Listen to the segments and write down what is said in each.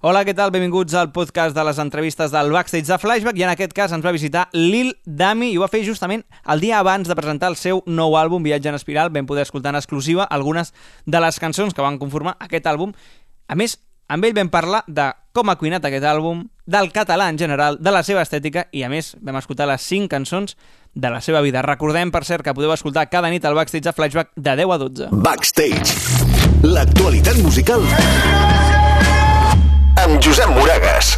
Hola, què tal? Benvinguts al podcast de les entrevistes del Backstage de Flashback i en aquest cas ens va visitar Lil Dami i ho va fer justament el dia abans de presentar el seu nou àlbum Viatge en Espiral. Vam poder escoltar en exclusiva algunes de les cançons que van conformar aquest àlbum. A més, amb ell vam parlar de com ha cuinat aquest àlbum, del català en general, de la seva estètica i, a més, vam escoltar les 5 cançons de la seva vida. Recordem, per cert, que podeu escoltar cada nit al Backstage de Flashback de 10 a 12. Backstage. L'actualitat musical amb Josep Moragues.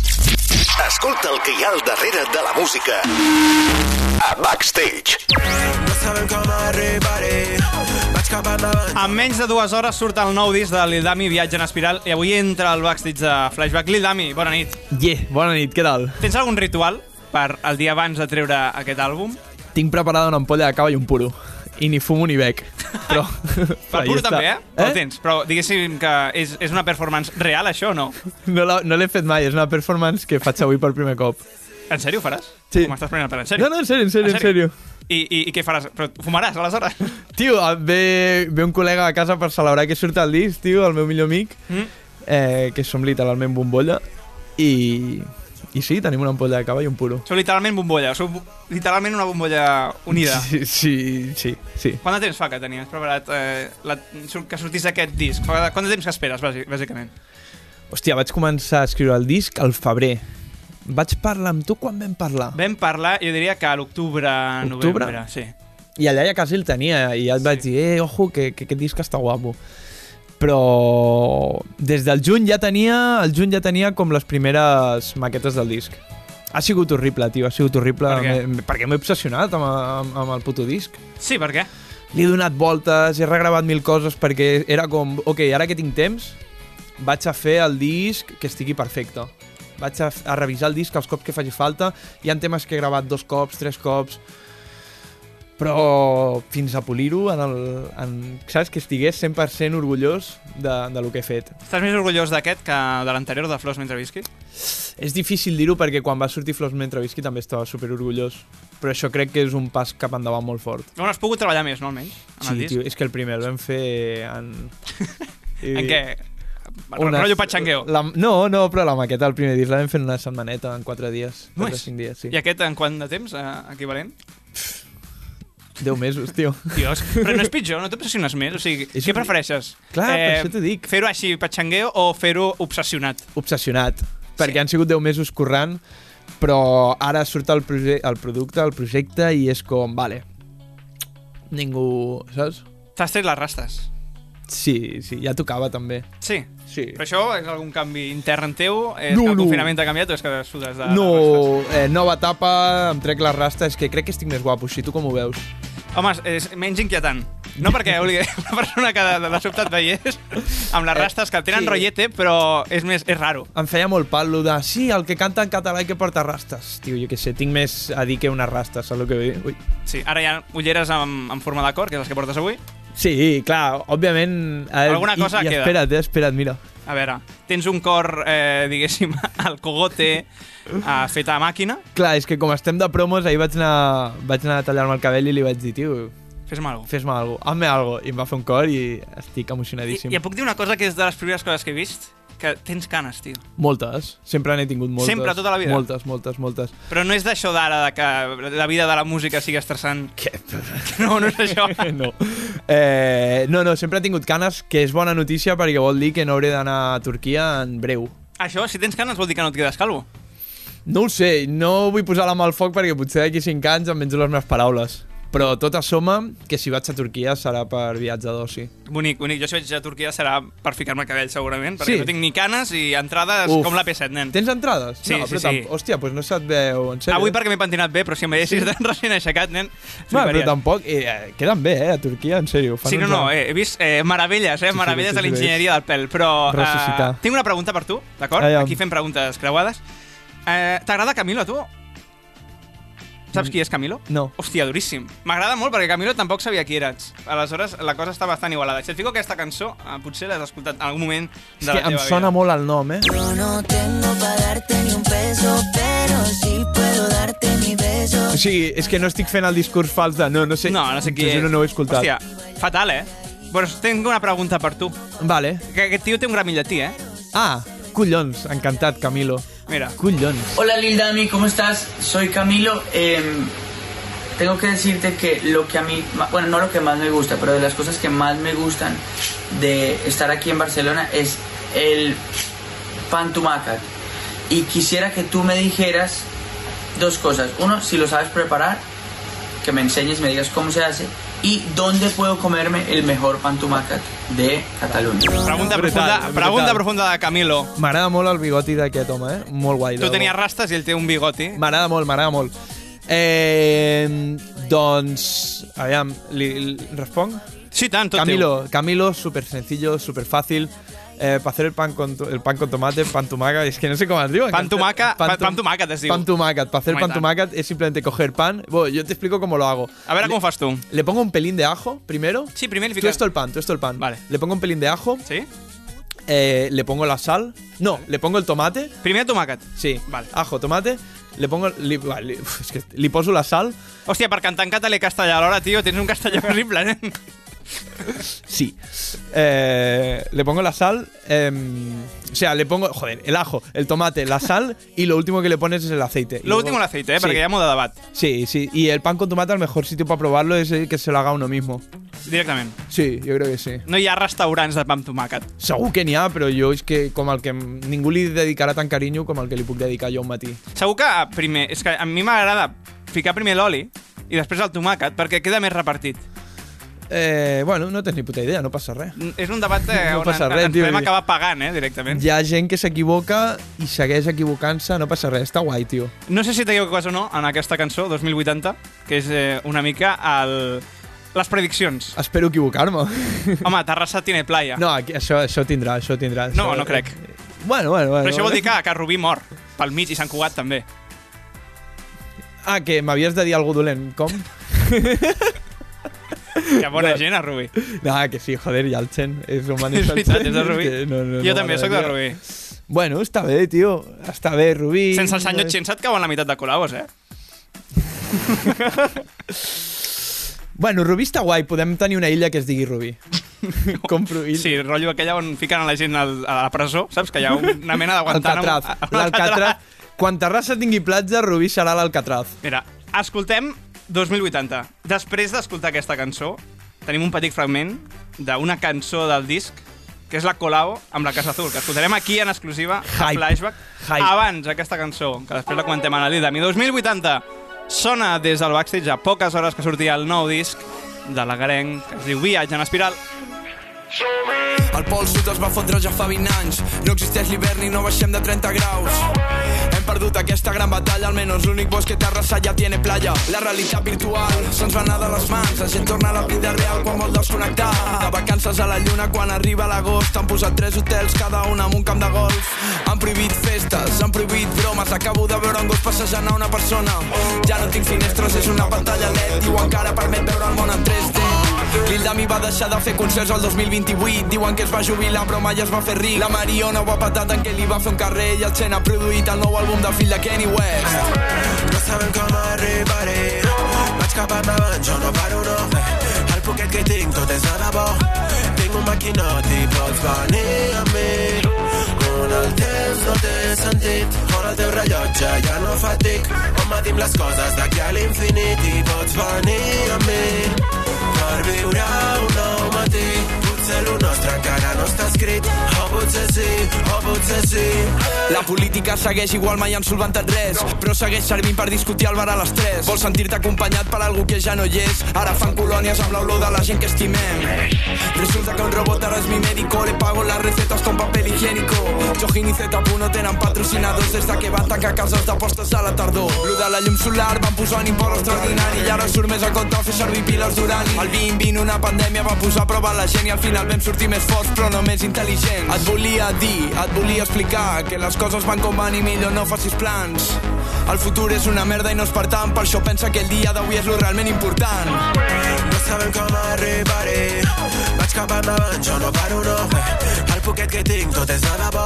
Escolta el que hi ha al darrere de la música a Backstage. No sabem com arribaré Vaig cap endavant En menys de dues hores surt el nou disc de Lil Dami, Viatge en Espiral, i avui entra al backstage de Flashback. Lil Dami, bona nit. Yeah, bona nit, què tal? Tens algun ritual per el dia abans de treure aquest àlbum? Tinc preparada una ampolla de cava i un puro. I ni fumo ni bec. Però... Per però puro ja està. també, eh? eh? El tens, però diguéssim que és, és una performance real, això, o no? No la- no l'he fet mai, és una performance que faig avui per primer cop. En sèrio ho faràs? Sí. Com estàs prenent el pèl, en sèrio? No, no, en sèrio, en sèrio, en sèrio. I, i, I què faràs? Però fumaràs, aleshores? Tio, eh, ve, ve un col·lega a casa per celebrar que surt el disc, tio, el meu millor amic, Mm? eh, que som literalment bombolla, i... I sí, tenim una ampolla de cava i un puro. Sou literalment bombolla, sou bu- literalment una bombolla unida. Sí, sí, sí. sí. Quant de temps fa que tenies preparat eh, la, que sortís aquest disc? Fa- Quant de temps que esperes, bàsic- bàsicament? Hòstia, vaig començar a escriure el disc al febrer. Vaig parlar amb tu quan vam parlar? Vam parlar, jo diria que a l'octubre, Octubre? novembre. Sí. I allà ja quasi el tenia, i ja et vaig dir, eh, ojo, que, que aquest disc està guapo. Però des del juny ja tenia, el juny ja tenia com les primeres maquetes del disc. Ha sigut horrible, tio, ha sigut horrible. Per què? M'he- Perquè m'he obsessionat amb, amb, amb el puto disc. Sí, per què? Li he donat voltes, he regravat mil coses perquè era com, ok, ara que tinc temps, vaig a fer el disc que estigui perfecte. Vaig a, f- a revisar el disc els cops que faci falta. Hi ha temes que he gravat dos cops, tres cops, però fins a polir-ho en el... En, saps? Que estigués 100% orgullós de, de lo que he fet. Estàs més orgullós d'aquest que de l'anterior, de Flors mentre visqui? És difícil dir-ho perquè quan va sortir Flors mentre visqui també estava super orgullós, però això crec que és un pas cap endavant molt fort. Bueno, has pogut treballar més, no, almenys? En el Sí, disc? tio, és que el primer el vam fer en... En què? Un Unes- rotllo patxangueo. La, no, no, però la maqueta del primer disc la vam fer en una setmaneta, en 4 dies. Només? 4 o 5 dies, sí. I aquest en quant de temps, eh, equivalent? 10 mesos, tio. Dios, però no és pitjor, no t'obsessiones més? O sigui, És què un- prefereixes? Eh, Clar, per això t'ho dic. Fer-ho així, patxangueo, o fer-ho obsessionat? Obsessionat. Perquè han sigut 10 mesos currant, però ara surt el, proje el producte, el projecte, i és com, vale, ningú... Saps? T'has tret les rastes. Sí, sí, ja tocava també. Sí. Sí. Però això és algun canvi intern teu? És No, que el no. confinament t'ha canviat o és que sudes de... de rastes? No, eh, nova etapa, em trec les rastes, que crec que estic més guapo, si tu com ho veus? Home, és menys inquietant. No perquè vulgui una persona que de, de, de sobte et veiés amb les rastes que tenen sí. sí. rotllete, però és més és raro. Em feia molt pal lo de, sí, el que canta en català i que porta rastes. Tio, jo què sé, tinc més a dir que unes rastes, saps el que vull dir? Ui. Sí, ara hi ha ulleres amb, amb forma de cor, que és les que portes avui. Sí, clar, òbviament... eh, Alguna cosa i, i queda. Espera't, eh, espera't, mira. A veure, tens un cor, eh, diguéssim, al cogote eh, fet a màquina. Clar, és que com estem de promos, ahir vaig anar, vaig anar a tallar-me el cabell i li vaig dir, tio, Fes-me alguna cosa. fes-me algo, hazme algo. I em va fer un cor i estic I, emocionadíssim. I et puc dir una cosa que és de les primeres coses que he vist? Que tens canes, tio. Moltes, sempre n'he tingut moltes. Sempre, tota la vida? Moltes, moltes, moltes. Però no és d'això d'ara, de que la vida de la música sigui estressant. Què? No, no és això. tota no. Eh, no, no, sempre he tingut canes, que és bona notícia perquè vol dir que no hauré d'anar a Turquia en breu. Això, si tens canes, vol dir que no et quedes calvo. No ho sé, no vull posar la mà al foc perquè potser d'aquí 5 anys em menjo les meves paraules. Però tot assoma que si vaig a Turquia serà per viatge d'oci. Bonic, bonic. Jo si vaig a Turquia serà per ficar-me cabell, segurament, perquè Sí. no tinc ni canes i entrades Uf. com la P7, nen. Tens entrades? Sí, no, sí, però sí. tamp- Hòstia, doncs no se't veu, en sèrio. Avui perquè m'he pentinat bé, però si em veiessis sí. recent aixecat, nen, Va, però fliparies. tampoc... Eh, eh, queden bé, eh, a Turquia, en sèrio. fan Sí, no, uns- no, eh, he vist eh, meravelles, eh, sí, meravelles sí, de sí, l'enginyeria del pèl, però... eh, Ressuscitar. tinc una pregunta per tu, d'acord? Aviam. Aquí fem preguntes creuades. Eh, T'agrada Camilo, a tu? Saps qui és Camilo? Mm. No. Hòstia, duríssim. M'agrada molt perquè Camilo tampoc sabia qui eres. Aleshores, la cosa està bastant igualada. Si et fico aquesta cançó, eh, potser l'has escoltat en algun moment de la Hòstia, teva em sona vida. molt el nom, eh? Yo no tengo para darte ni un peso, pero sí puedo darte mi beso. O sigui, és que no estic fent el discurs fals de no, no sé... No, no sé qui Te és. juro, no ho he escoltat. Hòstia, fatal, eh? Bueno, tinc una pregunta per tu. Vale. Que aquest tio té un gram llatí, eh? Ah, Collons, encantat, Camilo. Mira. Ah, Collons. Hola Lil Dami, ¿cómo estás? Soy Camilo. Em, tengo que decirte que lo que a mí, ma- bueno, no lo que más me gusta, pero de las cosas que más me gustan de estar aquí en Barcelona es el pan tumaca. Y quisiera que tú me dijeras dos cosas. Uno, si lo sabes preparar, que me enseñes, me digas cómo se hace. Y dónde puedo comerme el mejor pan tumaca de Cataluña. Pregunta, profunda, Brutal, brutal. pregunta profunda de Camilo. M'agrada molt el bigoti d'aquest home, eh? Molt guai. de Tu debò. tenies rastes i ell té un bigoti. M'agrada molt, m'agrada molt. Eh, doncs, aviam, li, li responc? Sí, tant, tot teu. Camilo, Camilo, súper sencillo, súper fácil. Eh, para hacer el pan con to- el pan con tomate, pan tumaca, es que no sé cómo es digo. Pan tumaca- pan- tu- pan tumacat es diu. Pan tumaca, para hacer Home, i pan tant. tumaca es simplemente coger pan. Bueno, yo te explico cómo lo hago. A veure Le- com ho fas tu. Le pongo un pelín de ajo primero. Sí, primer li Tú fiques... esto el pan, tú esto el pan. Vale. Le pongo un pelín de ajo, Sí? eh, le pongo la sal. No, le pongo el tomate. Primer tomàquet. Sí, Vale. ajo, tomate. Le pongo. li- vale, li- es que le pongo la sal. Hòstia, per cantar en català i castellà alhora, tio, tens un castellà horrible, eh? nen. Sí. Eh, le pongo la sal. em, o sea, le pongo, joder, el ajo, el tomate, la sal y lo último que le pones es el aceite. Y Lo luego- último l'aceite, eh, Sí, perquè hi ha molt de debat, Sí, sí. Y el pan con tomate, el mejor sitio para probarlo es el que se lo haga uno mismo. directament. Sí, yo creo que sí. No hi ha restaurants de pa amb tomàquet. Segur que n'hi ha, però jo és que com el que em- ningú li dedicarà tant carinyo com el que li puc dedicar jo un matí. Segur que ah, primer... És que a mi m'agrada ficar primer l'oli i després el tomàquet, perquè queda més repartit. Eh, bueno, no tens ni puta idea, no passa res. Mm, És un debat eh, No on passa en- res, ens tio, podem vull dir- acabar pagant, eh, directament. Hi ha gent que s'equivoca i segueix equivocant-se, no passa res, està guai, tio. No sé si t'equivoques o no en aquesta cançó, 2080, que és eh, una mica el... les prediccions. Espero equivocar-me. Home, Terrassa tiene playa. No, aquí, això, això tindrà, això tindrà. No, això- no crec. Bueno, bueno, bueno. Però això vol dir que, que Rubí mor pel mig i Sant Cugat també. Ah, que m'havies de dir alguna dolent. Com? Que bona gent, a Rubí. No, Ah, que sí, joder, i el Chen és un És manifest. veritat, és de Rubí. Que no, no, jo no també sóc de m'agradaria. Rubí. Bueno, està bé, tio. Està bé, Rubí. Sense el senyor Chen se't cauen la meitat de col·labos, eh? Bueno, Rubí està guai. Podem tenir una illa que es digui Rubí. Compro illa. Sí, rotllo aquella on fiquen a la gent al, a la presó, saps? Que hi ha una mena de guantànamo. Alcatraz. Un L'Alcatraz. Alcatraz. Quan Terrassa tingui platja, Rubí serà l'Alcatraz. Mira, escoltem 2080. Després d'escoltar aquesta cançó, tenim un petit fragment d'una cançó del disc, que és la Colabo amb la Casa Azul, que escoltarem aquí en exclusiva a Hype. Flashback. Hype. Abans, aquesta cançó, que després la comentem a la Lida. Mi 2080 sona des del backstage a poques hores que sortia el nou disc de la Garenc, que es diu Viatge en Espiral. El pol sud es va fotre ja fa 20 anys. No existeix l'hivern i no baixem de 30 graus. Hem perdut aquesta gran batalla, almenys l'únic bosc que Terrassa ja tiene playa. La realitat virtual se'ns va anar de les mans. La gent torna a la vida real quan vol desconnectar. De vacances a la lluna quan arriba l'agost. Han posat tres hotels, cada un amb un camp de golf. Han prohibit festes, han prohibit bromes. Acabo de veure un gos passejant a una persona. Ja no tinc finestres, és una pantalla LED. Diu encara permet veure el món en 3D. Lil Dami va deixar de fer concerts el 2028 Diuen que es va jubilar però mai es va fer ric La Mariona ho ha patat en què li va fer un carrer I el Chen ha produït el nou àlbum de fill de Kanye West No sabem com arribaré Vaig cap endavant, jo no paro no El poquet que tinc tot és de debò Tinc un maquinot i pots venir amb mi On el temps no té sentit On el teu rellotge ja no fa tic Home, dim les coses d'aquí a l'infinit I pots venir amb mi per viure un nou matí. Potser lo nostre encara no està escrit, o potser sí, o potser sí. La política segueix igual, mai han solventat res, però segueix servint per discutir al bar a les 3. Vols sentir-te acompanyat per algú que ja no hi és, ara fan colònies amb l'olor de la gent que estimem. Resulta que un robot ara és mi médico, le pago las recetas con papel higiénico. Jojin i Z.1 tenen patrocinadors des de que van tancar cases d'apostes a la tardor. Lo de la llum solar van posar un import extraordinari i ara surt més a compte fer servir piles d'urani. El 2020 una pandèmia va posar a prova la gent i al final vam sortir més forts però no més intel·ligents. Et volia dir, et volia explicar que les coses van com van i millor no facis plans. El futur és una merda i no és per tant, per això pensa que el dia d'avui és lo realment important. No sabem com arribaré, vaig cap endavant, jo no paro no. El poquet que tinc tot és de debò,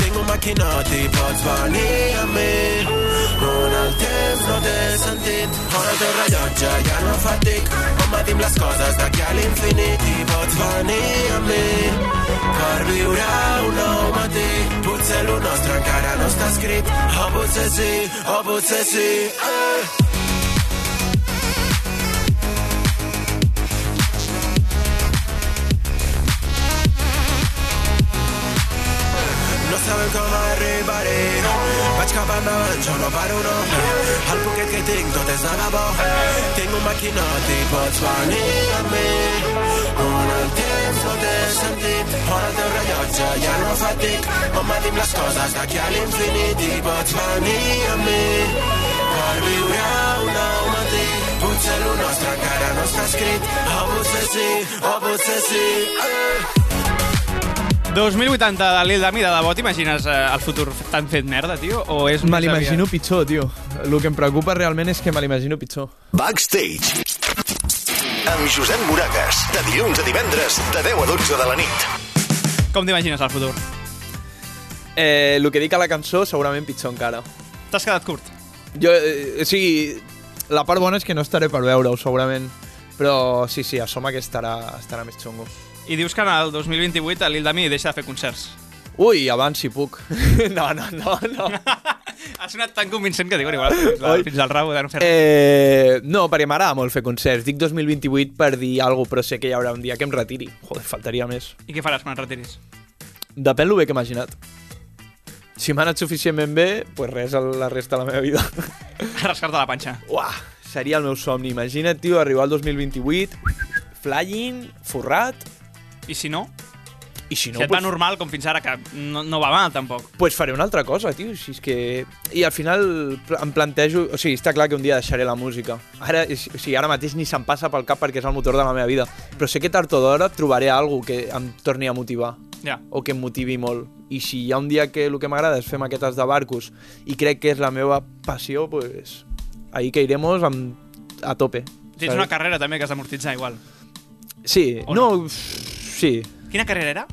tinc un maquinot i pots venir amb mi. On el temps no té sentit Ara té rellotge, ja no fa tic Combatim les coses d'aquí a l'infinit I pots venir amb mi Per viure un nou matí Potser lo nostre encara no està escrit O potser sí, o potser sí eh. No sabem com arribaré Vaig cap endavant, jo no paro, no El poquet que tinc tot és de debò Tinc un maquinot i pots venir amb mi On el temps no té sentit On el teu rellotge ja no fa tic On m'adim les coses d'aquí a l'infinit I pots venir amb mi Per viure un nou matí Potser lo nostre encara no està escrit O potser sí, o potser sí eh. 2080 de Lil Dami, de debò t'imagines eh, el futur tan fet merda, tio? O és Me més l'imagino aviat? pitjor, tio. El que em preocupa realment és que me l'imagino pitjor. Backstage. Amb Josep Moragas, de dilluns a divendres, de 10 a 12 de la nit. Com t'imagines el futur? Eh, el que dic a la cançó segurament pitjor encara. T'has quedat curt. Jo, eh, o sigui, la part bona és que no estaré per veure-ho, segurament. Però sí, sí, assoma que estarà, estarà més xungo. I dius que en el 2028 el Lil Dami deixa de fer concerts. Ui, abans si puc. No, no, no, no. ha sonat tan convincent que diuen igual fins, al, Oi. fins al rabo de no fer eh. Eh, no, perquè m'agrada molt fer concerts. Dic 2028 per dir alguna cosa, però sé que hi haurà un dia que em retiri. Joder, faltaria més. I què faràs quan et retiris? Depèn lo bé que he imaginat. Si m'ha anat suficientment bé, pues res a la resta de la meva vida. Rascar-te la panxa. Uah, seria el meu somni. Imagina't, tio, arribar al 2028, flying, forrat, I si no? i si no no... si et va pues- normal, com fins ara, que no, no va mal, tampoc. pues faré una altra cosa, tio, si és que... I al final pl- em plantejo... O sigui, està clar que un dia deixaré la música. Ara, o sigui, ara mateix ni se'm passa pel cap perquè és el motor de la meva vida. Però sé que tard o d'hora trobaré alguna que em torni a motivar Ja. o que em motivi molt. I si hi ha un dia que el que m'agrada és fer maquetes de barcos i crec que és la meva passió, pues, ahí que iremos amb, a tope. Tens saps? una carrera, també, que has d'amortitzar igual. Sí, o no, no? no, sí. Quina carrera era?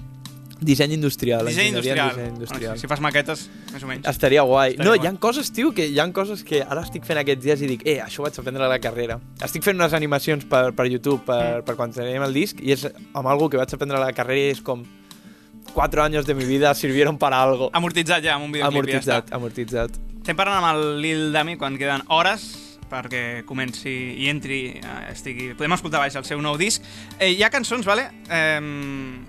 Disseny industrial. Disseny enginyeria en industrial. Ah, Disseny industrial. Bueno, si, si fas maquetes, més o menys. Estaria guai. Estaria no, guai. hi han coses, tio, que hi han coses que ara estic fent aquests dies i dic, eh, això ho vaig aprendre a la carrera. Estic fent unes animacions per, per YouTube, Mm. per, per quan tenim el disc, i és amb algo que vaig aprendre a la carrera i és com... Cuatro años de mi vida sirvieron para algo. Amortitzat ja, amb un videoclip. Ja Amortitzat, està. amortitzat. Estem parlant amb el Lil Dami quan queden hores perquè comenci i entri, eh, estigui... Podem escoltar baix el seu nou disc. Eh, hi ha cançons, vale? Eh,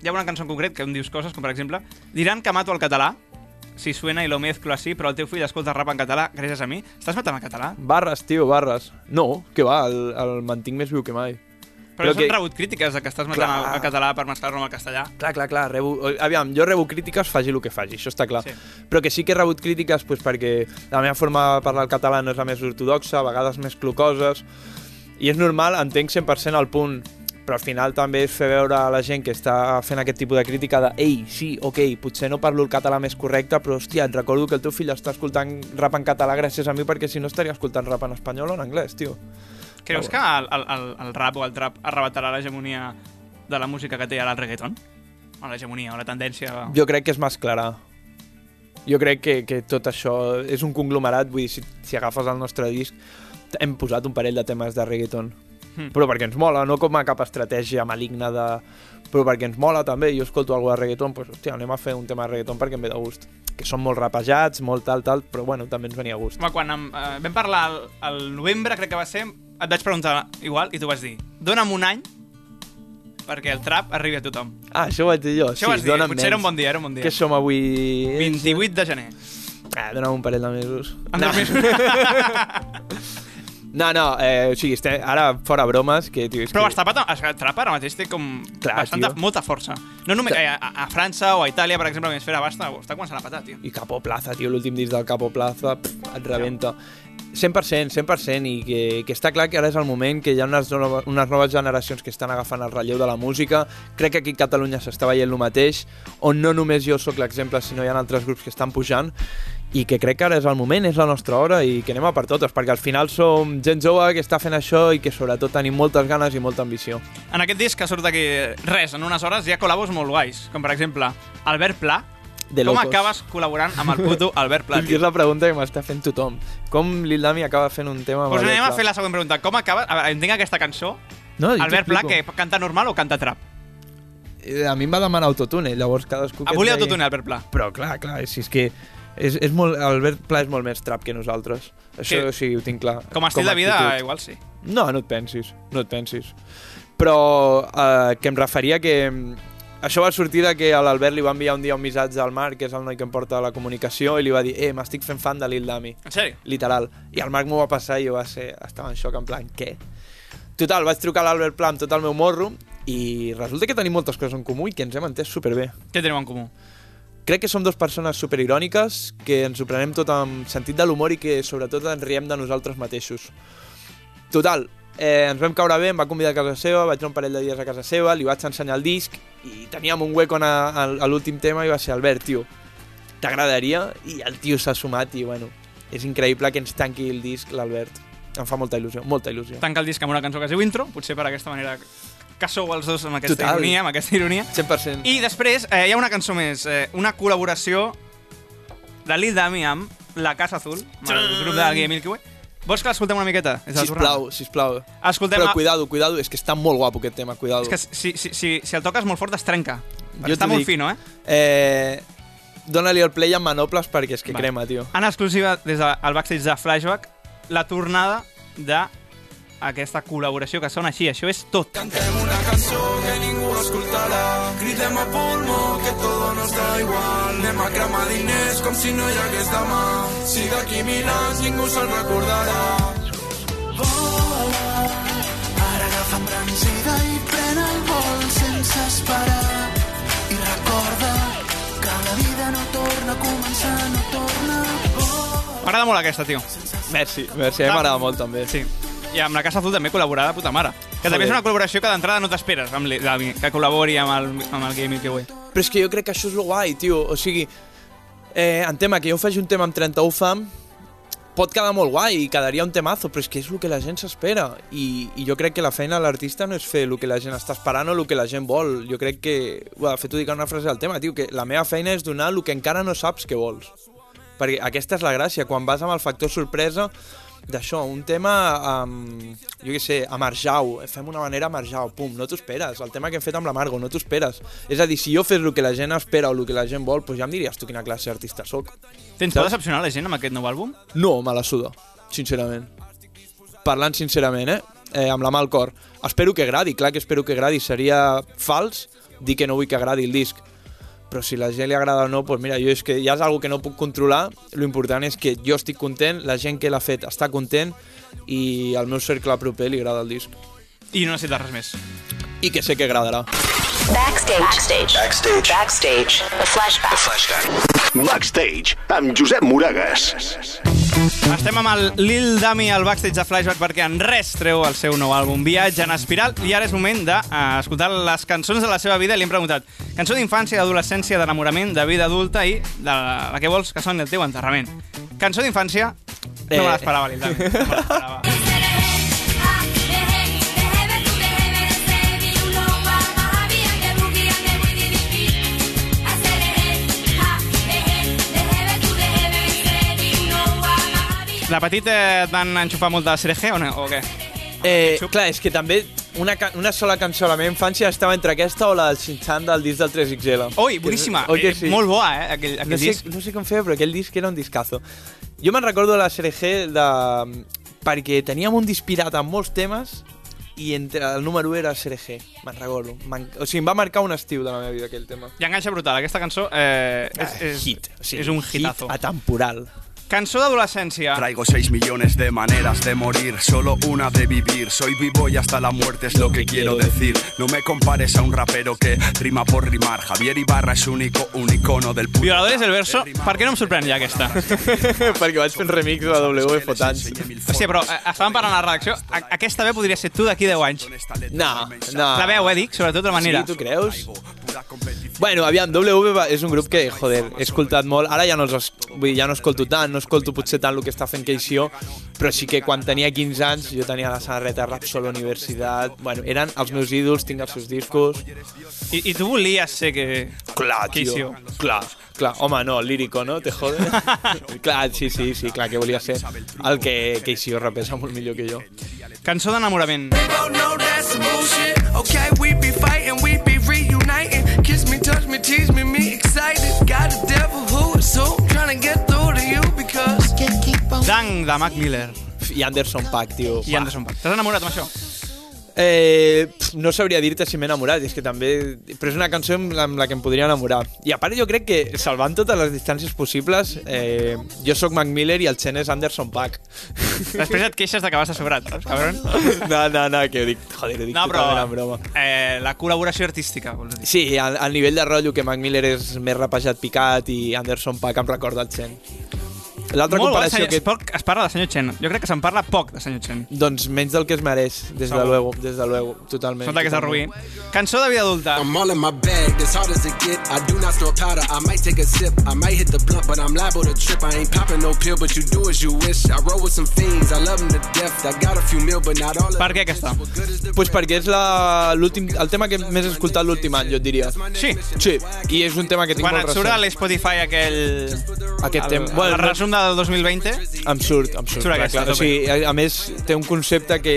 hi ha una cançó en concret que em dius coses, com per exemple Diran que mato el català, si suena i lo mezclo així, però el teu fill escolta rap en català gràcies a mi. Estàs matant el català? Barres, tio, barres. No, que va, el, el mantinc més viu que mai. Però, Però que... que- han rebut crítiques de que estàs matant Clar. el, el català per mesclar-lo amb el castellà. Clar, clar, clar. Rebo... o- Aviam, jo rebo crítiques, faci el que faci, això està clar. Sí. Sí. Però que sí que he rebut crítiques pues, perquè la meva forma de parlar el català no és la més ortodoxa, a vegades més clocoses, i és normal, entenc 100% el punt, però al final també és fer veure a la gent que està fent aquest tipus de crítica de ei, sí, ok, potser no parlo el català més correcte, però hòstia, et recordo que el teu fill està escoltant rap en català gràcies a mi perquè si no estaria escoltant rap en espanyol o en anglès, tio. Creus que el, el, el, el rap o el trap arrebatarà l'hegemonia de la música que té ara el reggaeton? O l'hegemonia, o la tendència... Jo crec que és més clara. Jo crec que, que tot això és un conglomerat, vull dir, si, si agafes el nostre disc, hem posat un parell de temes de reggaeton. Hmm. Però perquè ens mola, no com a cap estratègia maligna de... Però perquè ens mola també, jo escolto alguna de reggaeton, doncs hòstia, anem a fer un tema de reggaeton perquè em ve de gust. Que són molt rapejats, molt tal, tal, però bueno, també ens venia a gust. Home, quan em, eh, vam parlar al, al novembre, crec que va ser, et vaig preguntar igual i tu vas dir dona'm un any perquè el trap arribi a tothom. Ah, això ho vaig dir jo. Això ho vas dir, dóna'm potser era menys. un bon dia, era un bon dia. Que som avui... 28 de gener. Ah, dona'm un parell de mesos. Em No. dormeixo. No, no, eh, o sigui, estem, ara fora bromes, que tio... és Però que- Verstappen, es que Trap ara mateix té com Clar, bastanta, tio. molta força. No només a, a, a França o a Itàlia, per exemple, que esfera basta, ho està començant a patar, tio. I Capo Plaza, tio, l'últim disc del Capo Plaza pff, et rebenta. 100%, 100%, i que, que està clar que ara és el moment, que hi ha unes, noves, unes noves generacions que estan agafant el relleu de la música. Crec que aquí a Catalunya s'està veient el mateix, on no només jo sóc l'exemple, sinó hi ha altres grups que estan pujant, i que crec que ara és el moment, és la nostra hora, i que anem a per totes, perquè al final som gent jove que està fent això i que sobretot tenim moltes ganes i molta ambició. En aquest disc que surt d'aquí res, en unes hores, hi ha col·labos molt guais, com per exemple Albert Pla, de Com locos. acabes col·laborant amb el puto Albert Platí. Platí? És la pregunta que m'està fent tothom. Com Lil Dami acaba fent un tema... amb Doncs Albert anem a Pla? fer la següent pregunta. Com acabes... A veure, entenc aquesta cançó. No, jo Albert Pla, t'explico. que canta normal o canta trap? Eh, A mi em va demanar autotune, llavors cadascú... Ah, que volia ens deia- autotune, Albert Pla. Però clar, clar, si és que... És, és molt, Albert Pla és molt més trap que nosaltres. Això Que- sí, ho tinc clar. Com a estil de vida, actitud. igual sí. No, no et pensis, no et pensis. Però eh, que em referia que... mm, Això va sortir de que a l'Albert li va enviar un dia un missatge al Marc, que és el noi que em porta la comunicació, i li va dir, eh, m'estic fent fan de Lil Dami En sèrio? literal. I el Marc m'ho va passar i jo va ser... Estava en xoc, en plan, què? Total, vaig trucar a l'Albert Pla amb tot el meu morro i resulta que tenim moltes coses en comú i que ens hem entès superbé. Què tenim en comú? Crec que som dues persones superiròniques, que ens ho prenem tot amb sentit de l'humor i que sobretot ens riem de nosaltres mateixos. Total, eh, ens vam caure bé, em va convidar a casa seva, vaig anar un parell de dies a casa seva, li vaig ensenyar el disc i teníem un hueco en a, a, a l'últim tema i va ser Albert, tio, t'agradaria? I el tio s'ha sumat i bueno, és increïble que ens tanqui el disc l'Albert. Em fa molta il·lusió, molta il·lusió. Tanca el disc amb una cançó que es diu Intro, potser per aquesta manera que sou els dos amb aquesta Total. ironia, amb aquesta ironia. 100%. I després eh, hi ha una cançó més, eh, una col·laboració de Lil Dami amb La Casa Azul, amb el grup de Guia Milky Way. Vols que l'escoltem una miqueta? És la Sisplau, sisplau. tornada. Escoltem... Però a- cuidado, cuidado, és que està molt guapo aquest tema, cuidado. És que si, si, si, si el toques molt fort es trenca. Jo Jo està t'ho molt dic. fino, eh? Eh, Dóna-li el play amb manoples perquè és que Va. crema, tio. En exclusiva des del backstage de Flashback, la tornada de aquesta col·laboració que sona així. Això és tot. Cantem una cançó que ningú escoltarà. Cridem a pulmó que todo nos da igual. Anem a cremar diners com si no hi hagués demà. Si d'aquí mil anys ningú se'n recordarà. Ara agafa embranzida i pren el vol sense esperar. I recorda que la vida no torna a començar, no torna a volar. M'agrada molt aquesta, tio. Merci. Merci, a mi m'agrada molt també. Sí. I amb la Casa Azul també col·laborarà de puta mare. Que també Joder. és una col·laboració que d'entrada no t'esperes, amb Lil Dami, que col·labori amb el, amb el Guia Milky Way. Però és que jo crec que això és lo guai, tio. O sigui, eh, en tema que jo faci un tema amb 31 fam, pot quedar molt guai i quedaria un temazo, però és que és el que la gent s'espera. I, I jo crec que la feina de l'artista no és fer el que la gent està esperant o el que la gent vol. Jo crec que... Uah, de fet, ho dic en una frase del tema, tio, que la meva feina és donar el que encara no saps que vols. Perquè aquesta és la gràcia, quan vas amb el factor sorpresa d'això, un tema amb, jo què sé, amb Arjau, fem una manera amb Arjau, pum, no t'ho esperes, el tema que hem fet amb la Margo, no t'ho esperes. És a dir, si jo fes el que la gent espera o el que la gent vol, doncs ja em diries tu quina classe d'artista sóc. Tens por decepcionar la gent amb aquest nou àlbum? No, me la suda, sincerament. Parlant sincerament, eh? eh amb la mà al cor. Espero que agradi, clar que espero que agradi. Seria fals dir que no vull que agradi el disc. Però si la gent li agrada o no, doncs mira, jo és que ja és algo que no puc controlar. Lo important és que jo estic content, la gent que l'ha fet està content i al meu cercle proper li agrada el disc. I no necessites res més. I que sé que agradarà. Backstage. Backstage. Backstage. Backstage. A flashback. Flashback. Backstage amb Josep Moragas. Estem amb el Lil Dami al backstage de Flashback perquè en res treu el seu nou àlbum Viatge en Espiral i ara és moment d'escoltar les cançons de la seva vida i li hem preguntat cançó d'infància, d'adolescència, d'enamorament, de vida adulta i de la, la que vols que soni el teu enterrament. Cançó d'infància, no me Eh. l'esperava Lil Dami. No me l'esperava. De petit eh, et van enxufar molt de Serege o, no, o què? Eh, Xup. clar, és que també una, ca- una sola cançó a la meva infància estava entre aquesta o la del Shin-Chan del disc del 3XL. Oi, boníssima. Oi que Eh, sí? Molt boa, eh, aquell, aquell no sé, disc. no sé com feia, però aquell disc era un discazo. Jo me'n recordo de la sèrie G de... perquè teníem un disc pirata amb molts temes i entre el número u era sèrie G, me'n recordo. M'en- O sigui, em va marcar un estiu de la meva vida aquell tema. I enganxa brutal. Aquesta cançó eh, és, és, Ah, hit. O sigui, és un hitazo. Hit atemporal. Cançó d'adolescència. Traigo 6 millones de maneras de morir, solo una de vivir. Soy vivo y hasta la muerte es lo que quiero decir. No me compares a un rapero que rima por rimar. Javier Ibarra es único, un icono del puto. Violadores del verso, per què no em sorprèn ja aquesta? perquè vaig fent remix de la W fotant. Hòstia, però eh, estàvem parlant a la redacció. A aquesta veu podria ser tu d'aquí 10 anys. No, no. La veu, eh, dic, sobretot la tota manera. Sí, tu creus? Bueno, aviam, W va- és un grup que, joder, he escoltat molt. Ara ja no, els, es- vull dir, ja no escolto tant, no escolto potser tant el que està fent Keixio, però sí que quan tenia 15 anys jo tenia la samarreta Rap Solo Universitat. Bueno, eren els meus ídols, tinc els seus discos. I, I tu volies ser que... Clar, tio. Keixio. Clar, clar. Home, no, lírico, no? Te jode. clar, sí, sí, sí, clar, que volia ser el que Keixio rapesa molt millor que jo. Cançó d'enamorament. Oh no, that's some bullshit. Okay, we be fighting, we be reuniting. Kiss me, touch me, tease me, me excited. Got the devil who is who. Trying to get through to you because I can't keep on. Dang, de Mac Miller. I Anderson Paak, tio. I Anderson Paak. T'has enamorat amb això? Eh, pf, no sabria dir-te si m'he enamorat, és que també... Però és una cançó amb la, amb la que em podria enamorar. I a part jo crec que, salvant totes les distàncies possibles, eh, jo sóc Mac Miller i el Chen és Anderson Paak. Després et queixes de que vas assobrat, saps, cabron? No, no, no, que ho dic, joder, ho dic No, però totalment en broma. eh, la col·laboració artística, vols dir. Sí, al, al nivell de rotllo que Mac Miller és més rapejat picat i Anderson Paak em recorda el Chen. L'altra Molt comparació senyor, que... es, poc, es parla de senyor Chen. Jo crec que se'n parla poc de senyor Chen. Doncs menys del que es mereix, des de Segur. luego, des de luego, totalment. Sota que és el Rubí. totalment. Cançó de vida adulta. I'm all in my bag, as hard as it get. I do not snort powder, I might take a sip. I might hit the blunt, but I'm liable to trip. I ain't popping no pill, but you do as you wish. I roll with some fiends, I love them to death. I got a few mil, but not all of Per què aquesta? Pues perquè és la, l'últim, el tema que més he escoltat l'últim any, jo et diria. Sí. Sí, i és un tema que tinc Quan et molt surt a recent. l'Spotify aquell... Aquest el, tema. Bueno, Bueno, el no- resum del 2020. Em surt, em surt. Surt aquesta, clar, a o sigui, a, a més, té un concepte que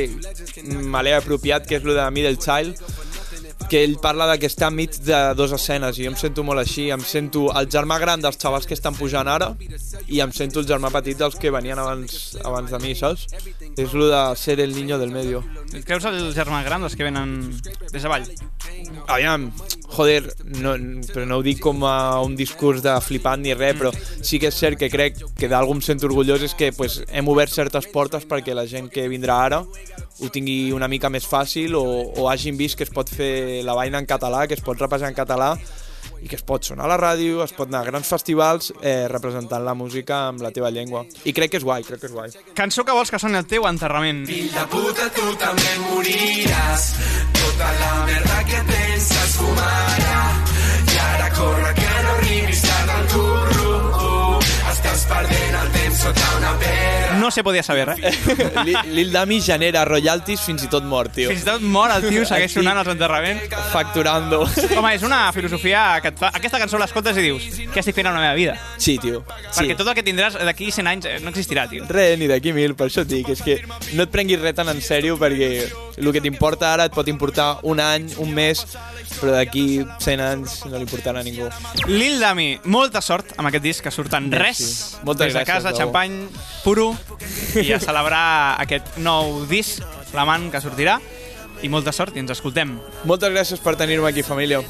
me l'he apropiat, que és el de Middle Child, que ell parla de que està enmig de dues escenes i jo em sento molt així, em sento el germà gran dels xavals que estan pujant ara i em sento el germà petit dels que venien abans, abans de mi, saps? És el de ser el niño del medio. Et creus el germà gran dels que venen des de Vall? Aviam, joder, no, però no ho dic com a un discurs de flipant ni res, però sí que és cert que crec que d'algú em sento orgullós és que pues, hem obert certes portes perquè la gent que vindrà ara ho tingui una mica més fàcil o, o hagin vist que es pot fer la vaina en català, que es pot repassar en català i que es pot sonar a la ràdio, es pot anar a grans festivals eh, representant la música amb la teva llengua. I crec que és guai, crec que és guai. Cançó que vols que soni el teu enterrament. Fill de puta, tu també moriràs. Tota la merda que penses fumarà. I ara corre que no arribis tard al curro. Estàs perdent el temps sota una pedra. No se podia saber, eh? Li- Lil Dami genera royalties fins i tot mort, tio. Fins i tot mor el tio, segueix sonant als enterraments. Facturando. Home, és una filosofia que et fa... Aquesta cançó l'escoltes i dius què estic fent amb la meva vida? Sí, tio. Perquè tot el que tindràs d'aquí 100 anys eh, no existirà, tio. Re, ni d'aquí mil, per això et dic, és que no et prenguis res tan en sèrio perquè el que t'importa ara et pot importar un any, un mes, però d'aquí 100 anys no li importarà a ningú. Lil Dami, molta sort amb aquest disc que surt en res. Merci. Moltes des de gràcies, casa, Raül. xampany, puro, i a celebrar aquest nou disc, l'amant que sortirà. I molta sort i ens escoltem. Moltes gràcies per tenir-me aquí, família.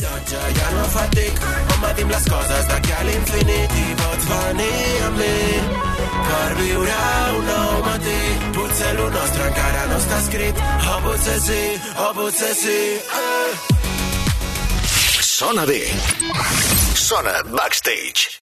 Ja, ja no fatic, home, dim les coses d'aquí a l'infinit i pots venir amb mi per viure un nou matí. Potser lo nostre encara no està escrit, o potser sí, o potser sí. Eh. Sona bé. Sona Backstage.